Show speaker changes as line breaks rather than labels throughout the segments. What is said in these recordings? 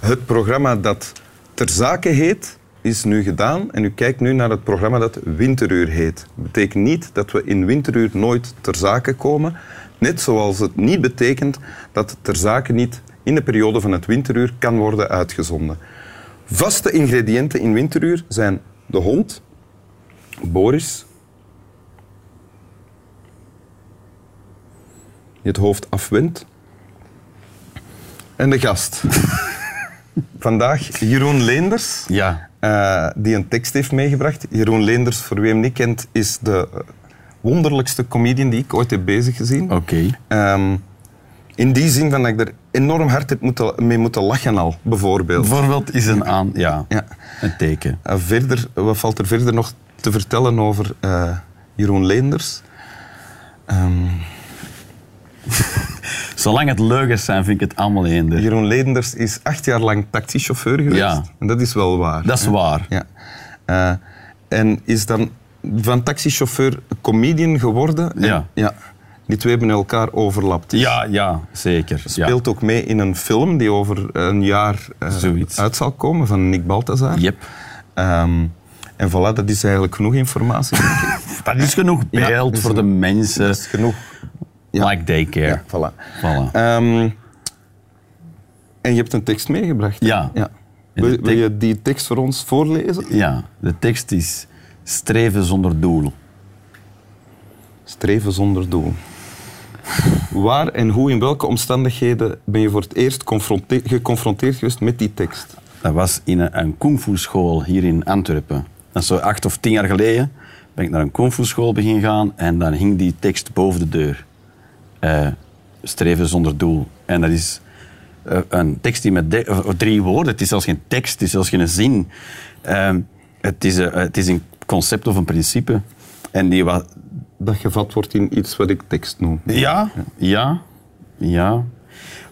het programma dat ter zake heet, is nu gedaan en u kijkt nu naar het programma dat Winteruur heet. Dat betekent niet dat we in Winteruur nooit ter zake komen. Net zoals het niet betekent dat ter zake niet in de periode van het winteruur kan worden uitgezonden. Vaste ingrediënten in winteruur zijn de hond, Boris, die het hoofd afwendt, en de gast. Vandaag Jeroen Leenders.
Ja.
eh, die een tekst heeft meegebracht. Jeroen Leenders, voor wie hem niet kent, is de eh, wonderlijkste comedian die ik ooit heb bezig gezien.
Oké.
Ehm, in die zin van dat ik er enorm hard heb moeten, mee moeten lachen al, bijvoorbeeld.
Bijvoorbeeld is een aan... Ja.
Ja.
Een teken.
Eh, verder, wat valt er verder nog te vertellen over eh, Jeroen Leenders? Ehm,
Zolang het leugens zijn, vind ik het allemaal eender.
Jeroen Leenders is acht jaar lang taxichauffeur geweest.
Ja.
En dat is wel waar.
Dat is waar.
Ja. Eh, en is dan van taxichauffeur comedian geworden. En-
Ja.
ja. Die twee hebben elkaar overlapt. Dus
Ja, ja, zeker. Ja.
Speelt ook mee in een film die over een jaar eh,
Zoiets.
uit zal komen van Nick Balthazar.
Yep.
Ehm, en voilà, dat is eigenlijk genoeg informatie. denk ik.
Dat is genoeg
Ja,
beeld
dus
voor de mensen.
dat is genoeg. ja.
Like daycare.
Ja, voilà.
Voilà.
Ehm, en je hebt een tekst meegebracht.
Ja. En
Wil,
de
wil je die tekst voor ons voorlezen?
Ja, de tekst is streven zonder doel.
Streven zonder doel. Waar en hoe, in welke omstandigheden ben je voor het eerst confronte- geconfronteerd geweest met die tekst?
Dat was in een, een kungfu school hier in Antwerpen. Dat is zo acht of tien jaar geleden. Ben ik naar een kungfu school begin gaan en dan hing die tekst boven de deur. Eh, streven zonder doel. En dat is eh, een tekst die met de- eh, drie woorden. Het is zelfs geen tekst, het is zelfs geen zin. Ehm, het, is, eh, het is een concept of een principe. En die was,
Dat gevat wordt in iets wat ik tekst noem.
ja, ja, ja.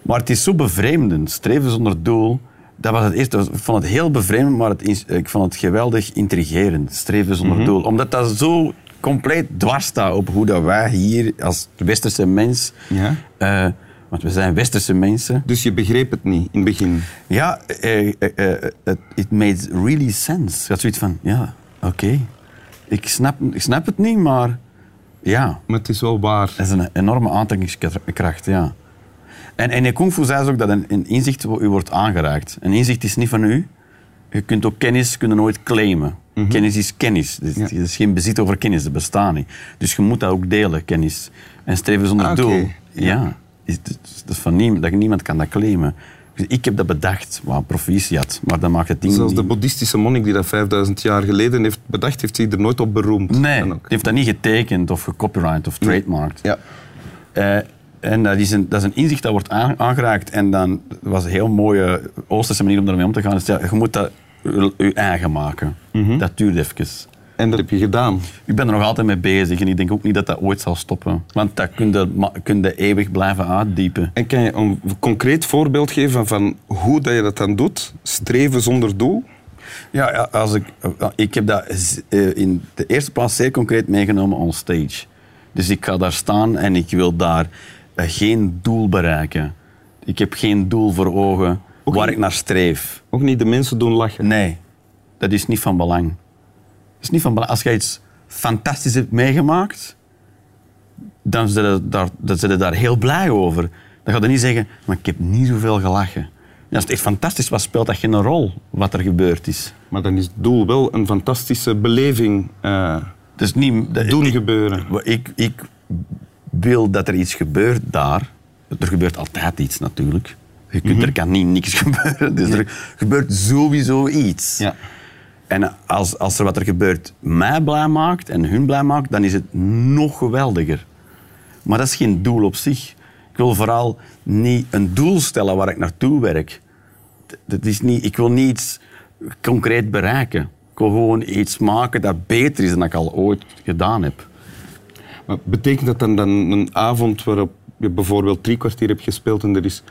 Maar het is zo bevreemdend. Streven zonder doel. Dat was het eerste. Ik vond het heel bevreemdend, maar het is- ik vond het geweldig intrigerend. Streven zonder doel. Omdat dat zo compleet dwars staat op hoe dat wij hier als westerse mens...
Ja.
eh, want we zijn westerse mensen.
Dus je begreep het niet in het begin.
Ja, eh, eh, eh, het- it made really sense. Ik had zoiets van, ja, oké. Ik, snap, ik snap het niet, maar ja...
Maar het is wel waar.
Dat is een enorme aantrekkingskracht, ja. En, en in Kung Fu zei ze ook dat een, een inzicht wo- u wordt aangeraakt. Een inzicht is niet van u. Je kunt ook kennis kunnen nooit claimen. Kennis is kennis. Dus
Mhm. Ja.
Er is geen bezit over kennis, dat bestaat niet. Dus je moet dat ook delen, kennis. En streven zonder
Ah, oké.
doel. Ja, is, dat is- dat is van niemand, dat niemand kan dat claimen. Dus ik heb dat bedacht, maar proficiat. Maar dat maakt het ding
Zelfs
niet...
de boeddhistische monnik die dat 5000 jaar geleden heeft bedacht, heeft zich er nooit op beroemd.
Nee,
Dan
die
ook.
heeft dat niet getekend of gecopyright of trademarked.
Ja.
Eh, en dat is, een, dat is een inzicht dat wordt aan- aangeraakt. En dan dat was een heel mooie Oosterse manier om daarmee om te gaan. Is, ja, je moet dat je- je eigen maken. Dat duurt even.
En dat heb je gedaan.
Ik ben er nog altijd mee bezig en ik denk ook niet dat dat ooit zal stoppen. Want dat kun je, ma- kun je eeuwig blijven uitdiepen.
En kan je een concreet voorbeeld geven van hoe dat je dat dan doet? Streven zonder doel?
Ja, ja, als ik, ik heb dat z- eh, in de eerste plaats zeer concreet meegenomen on stage. Dus ik ga daar staan en ik wil daar eh, geen doel bereiken. Ik heb geen doel voor ogen
Oké.
waar ik naar streef.
Ook niet de mensen doen lachen.
Nee, dat is niet van belang. Dat is niet van belang. Als jij iets fantastisch hebt meegemaakt, dan zit je daar, dan zit je daar heel blij over. Dan ga je niet zeggen, maar ik heb niet zoveel gelachen. En als het echt fantastisch was, speelt dat geen rol wat er gebeurd is.
Maar dan is het doel wel een fantastische beleving eh,
Dus niet, dat-
doen gebeuren.
Ik, ik wil dat er iets gebeurt daar. Er gebeurt altijd iets natuurlijk. Je kunt, Er kan niet niks gebeuren. Dus er gebeurt sowieso iets.
Ja.
En als, als er wat er gebeurt mij blij maakt en hun blij maakt, dan is het nog geweldiger. Maar dat is geen doel op zich. Ik wil vooral niet een doel stellen waar ik naartoe werk. D- Dat is niet, ik wil niet iets concreet bereiken. Ik wil gewoon iets maken dat beter is dan ik al ooit gedaan heb.
Maar betekent dat dan, dan een avond waarop je bijvoorbeeld drie kwartier hebt gespeeld en er is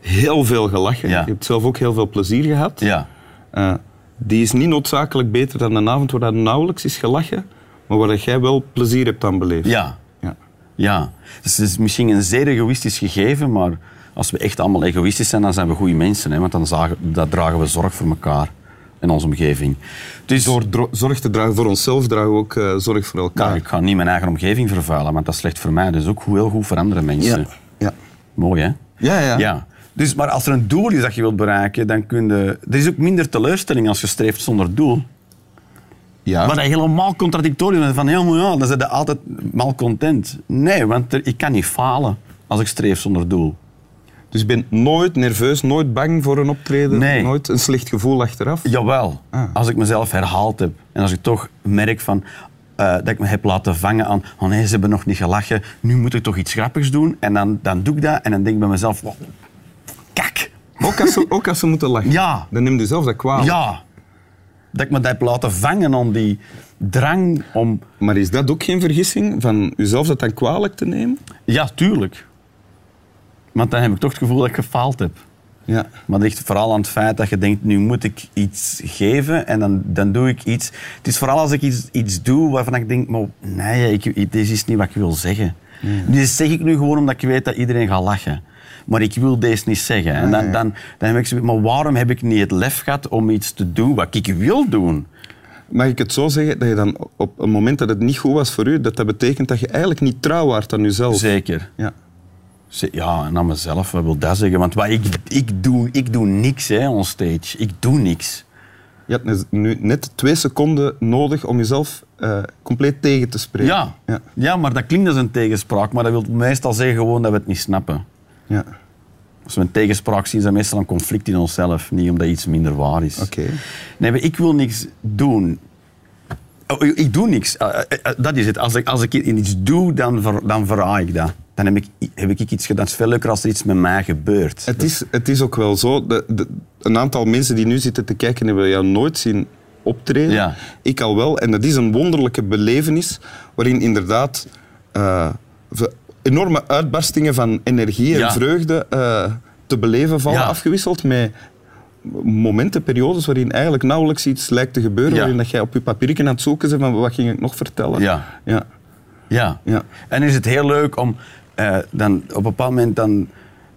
heel veel gelachen?
Ja.
Je hebt zelf ook heel veel plezier gehad.
Ja.
Eh, die is niet noodzakelijk beter dan een avond waar dat nauwelijks is gelachen, maar waar dat jij wel plezier hebt aan beleefd.
Ja.
Ja.
Ja. Dus het is misschien een zeer egoïstisch gegeven, maar Als we echt allemaal egoïstisch zijn, dan zijn we goede mensen. Hè, want dan, zagen, dan dragen we zorg voor elkaar en onze omgeving. Dus
Door dro- zorg te dragen voor onszelf dragen we ook eh, zorg voor
ja,
elkaar.
ik ga niet mijn eigen omgeving vervuilen, want dat is slecht voor mij. Dus ook heel goed voor andere mensen.
ja.
Mooi, hè?
Ja, ja.
Dus, eh, Ja. Dus, maar als er een doel is dat je wilt bereiken, dan kun je... Er is ook minder teleurstelling als je streeft zonder doel.
Ja.
Wat dat helemaal contradictorisch is. Van, ja, maar ja, dan zijn ze altijd malcontent. Nee, want er- ik kan niet falen als ik streef zonder doel.
Dus je bent nooit nerveus, nooit bang voor een optreden,
Nee.
nooit een slecht gevoel achteraf.
Jawel, als ik mezelf herhaald heb. En als ik toch merk van, eh, dat ik me heb laten vangen aan... Oh nee, ze hebben nog niet gelachen. Nu moet ik toch iets grappigs doen. En dan, dan doe ik dat. En dan denk ik bij mezelf... wow, kak,
Ook, als ze, ook als ze moeten lachen.
Ja.
Dan neem je zelf dat kwaad.
Ja. Dat ik me dat heb laten vangen om die drang om...
Maar is dat ook geen vergissing van jezelf dat dan kwalijk te nemen?
Ja, tuurlijk. Want dan heb ik toch het gevoel dat ik gefaald heb.
Ja.
Maar het ligt vooral aan het feit dat je denkt, nu moet ik iets geven en dan, dan doe ik iets. Het is vooral als ik iets, iets doe waarvan ik denk, maar nee, ik, ik- dit is niet wat ik wil zeggen. Dit zeg ik nu gewoon omdat ik weet dat iedereen gaat lachen. Maar ik wil deze niet zeggen. En dan, dan, dan heb ik zoiets, maar waarom heb ik niet het lef gehad om iets te doen wat ik wil doen?
Mag ik het zo zeggen dat je dan op een moment dat het niet goed was voor u, dat dat betekent dat je eigenlijk niet trouw waart aan jezelf?
Zeker.
Ja.
Ze- Ja, en aan mezelf, wat wil dat zeggen? Want wat ik, ik, doe, ik doe niks hè, on stage. Ik doe niks.
Je hebt ne- nu net twee seconden nodig om jezelf eh, compleet tegen te spreken.
Ja.
Ja.
Ja. maar dat klinkt als een tegenspraak, maar dat wil meestal zeggen gewoon dat we het niet snappen.
ja.
Als we een tegenspraak zien, is dat meestal een conflict in onszelf, niet omdat iets minder waar is.
Oké.
Nee, maar ik wil niks doen. Oh, ik, ik doe niks. Eh, eh, eh, dat is het. Als ik, als ik in iets doe, dan, ver, dan verraai ik dat. Dan heb ik, heb ik iets gedaan. Het is veel leuker als er iets met mij gebeurt.
Het is, het is ook wel zo. De, de- een aantal mensen die nu zitten te kijken hebben jou nooit zien optreden.
Ja.
Ik al wel. En dat is een wonderlijke belevenis waarin inderdaad eh, ve- enorme uitbarstingen van energie en
Ja.
vreugde eh, te beleven vallen.
Ja.
Afgewisseld met momenten, periodes waarin eigenlijk nauwelijks iets lijkt te gebeuren.
Ja.
Waarin dat jij op je papiertje aan het zoeken bent van wat ging ik nog vertellen.
Ja.
Ja.
Ja.
Ja.
En is het heel leuk om eh, dan op een bepaald moment dan.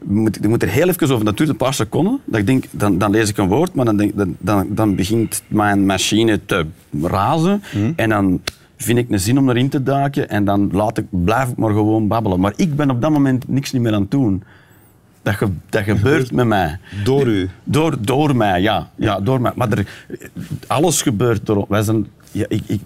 Moet, ik moet er heel even over, dat duurt een paar seconden. Dat ik denk, dan, dan lees ik een woord, maar dan, denk, dan, dan, dan begint mijn machine te razen. En dan vind ik een zin om erin te duiken en dan laat ik, blijf ik maar gewoon babbelen. Maar ik ben op dat moment niks niet meer aan het doen. Dat, ge- dat gebeurt met mij.
Door u.
Door, door mij, ja. ja door mij. Maar er, alles gebeurt door ons. Wij zijn, ja, ik, ik,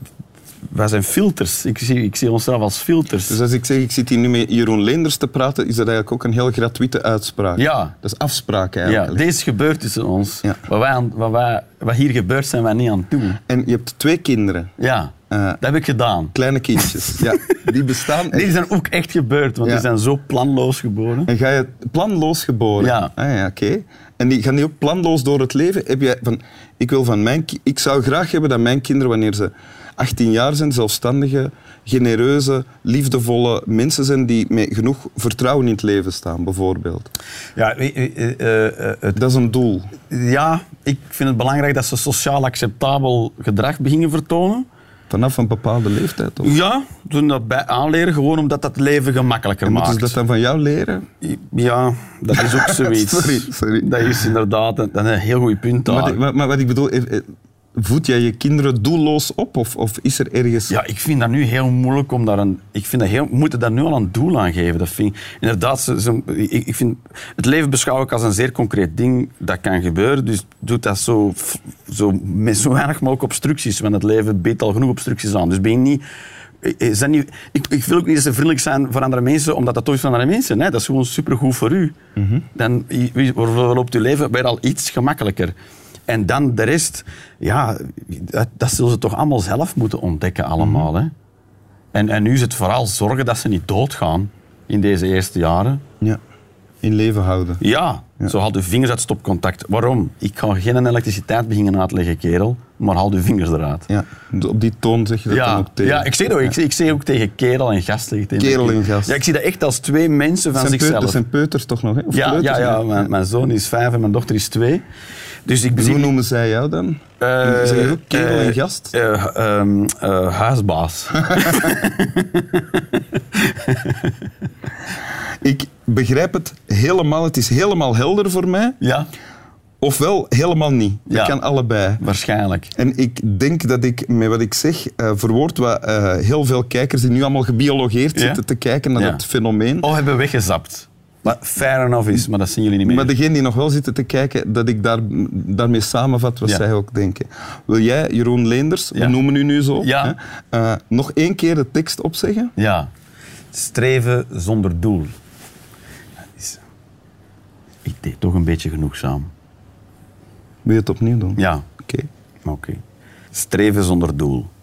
wij zijn filters. Ik zie, ik zie onszelf als filters.
Dus als ik zeg, ik zit hier nu met Jeroen Leenders te praten, is dat eigenlijk ook een heel gratuite uitspraak.
Ja.
Dat is afspraak
ja,
eigenlijk.
deze gebeurt tussen ons.
Ja.
Wat, wij aan- wat, wij, wat hier gebeurt, zijn wij niet aan het doen.
En je hebt twee kinderen,
Ja,
Eh.
dat heb ik gedaan.
kleine kindjes. ja, die bestaan. En,
Die zijn ook echt gebeurd, want
Ja.
die zijn zo planloos geboren.
en ga je planloos geboren.
Ja.
Ah, ja oké. En die gaan die ook planloos door het leven. Heb jij van, ik, wil van mijn, ki- ik zou graag hebben dat mijn kinderen, wanneer ze 18 jaar zijn, zelfstandige, genereuze, liefdevolle mensen zijn die met genoeg vertrouwen in het leven staan, bijvoorbeeld.
Ja, eh, eh, eh, eh, het
Dat is een doel.
ja, ik vind het belangrijk dat ze sociaal acceptabel gedrag beginnen vertonen.
Vanaf een bepaalde leeftijd. Toch?
Ja, doen dat bij aanleren, gewoon omdat dat het leven gemakkelijker
En
maakt.
moeten ze dat dan van jou leren?
Ja, dat is ook zoiets.
Sorry, sorry.
Dat is inderdaad een, een heel goed punt daar.
Maar, maar, maar wat ik bedoel, eh, eh, voed jij je kinderen doelloos op? Of, of is er ergens...
Ja, ik vind dat nu heel moeilijk om daar een... Ik vind dat heel... We moeten daar nu al een doel aan geven. Dat vind ik, inderdaad, ze, ze- ik, ik vind... Het leven beschouw ik als een zeer concreet ding. Dat kan gebeuren. Dus doe dat zo, f- zo, met zo weinig mogelijk obstructies. Want het leven biedt al genoeg obstructies aan. Dus ben niet... eh, eh, Zijn niet ik, ik wil ook niet eens vriendelijk zijn voor andere mensen, omdat dat toch is van andere mensen. Hè? Dat is gewoon supergoed voor u. Dan i- wie- waar- waar loopt uw leven weer al iets gemakkelijker. En dan de rest, ja, dat, dat zullen ze toch allemaal zelf moeten ontdekken allemaal.
Mhm.
hè? En, en nu is het vooral zorgen dat ze niet doodgaan in deze eerste jaren.
Ja. In leven houden.
Ja, Zo haal je vingers uit stopcontact. Waarom? Ik ga geen elektriciteit beginnen uitleggen, kerel, maar haal je vingers eruit.
Ja. Op die toon zeg je dat dan ook tegen.
ja, ik zeg dat ook. Ik, zeg- ik zeg ook tegen kerel en gast. Zeg ik tegen
Kerel en gast.
Ja, ik zie dat echt als twee mensen
dat,
van
zijn peu-
zichzelf.
dat zijn peuters toch nog, hè? Of
ja,
kleuters,
ja, ja,
hè?
Mijn, mijn zoon is vijf en mijn dochter is twee. Dus ik
Dus
zie
hoe noemen zij jou dan?
eh,
zeg je ook kerel en
eh,
gast?
eh, ehm, eh, huisbaas.
Ik begrijp het helemaal. Het is helemaal helder voor mij.
ja,
Ofwel helemaal niet. Dat
Ja.
kan allebei.
waarschijnlijk.
En ik denk dat ik met wat ik zeg eh, verwoord wat eh, heel veel kijkers die nu allemaal gebiologeerd
Ja?
zitten te kijken naar
Ja.
dat fenomeen.
Oh, hebben we weggezapt. Maar fair enough is, maar dat zien jullie niet meer.
Maar degenen die nog wel zitten te kijken, dat ik daar, daarmee samenvat wat
Ja.
zij ook denken. Wil jij, Jeroen Leenders,
Ja.
we noemen u nu zo,
Ja.
hè, eh, nog één keer de tekst opzeggen?
Ja. Streven zonder doel. Dat is- Ik deed toch een beetje genoegzaam.
Wil je het opnieuw doen?
Ja,
Oké.
oké. Streven zonder doel.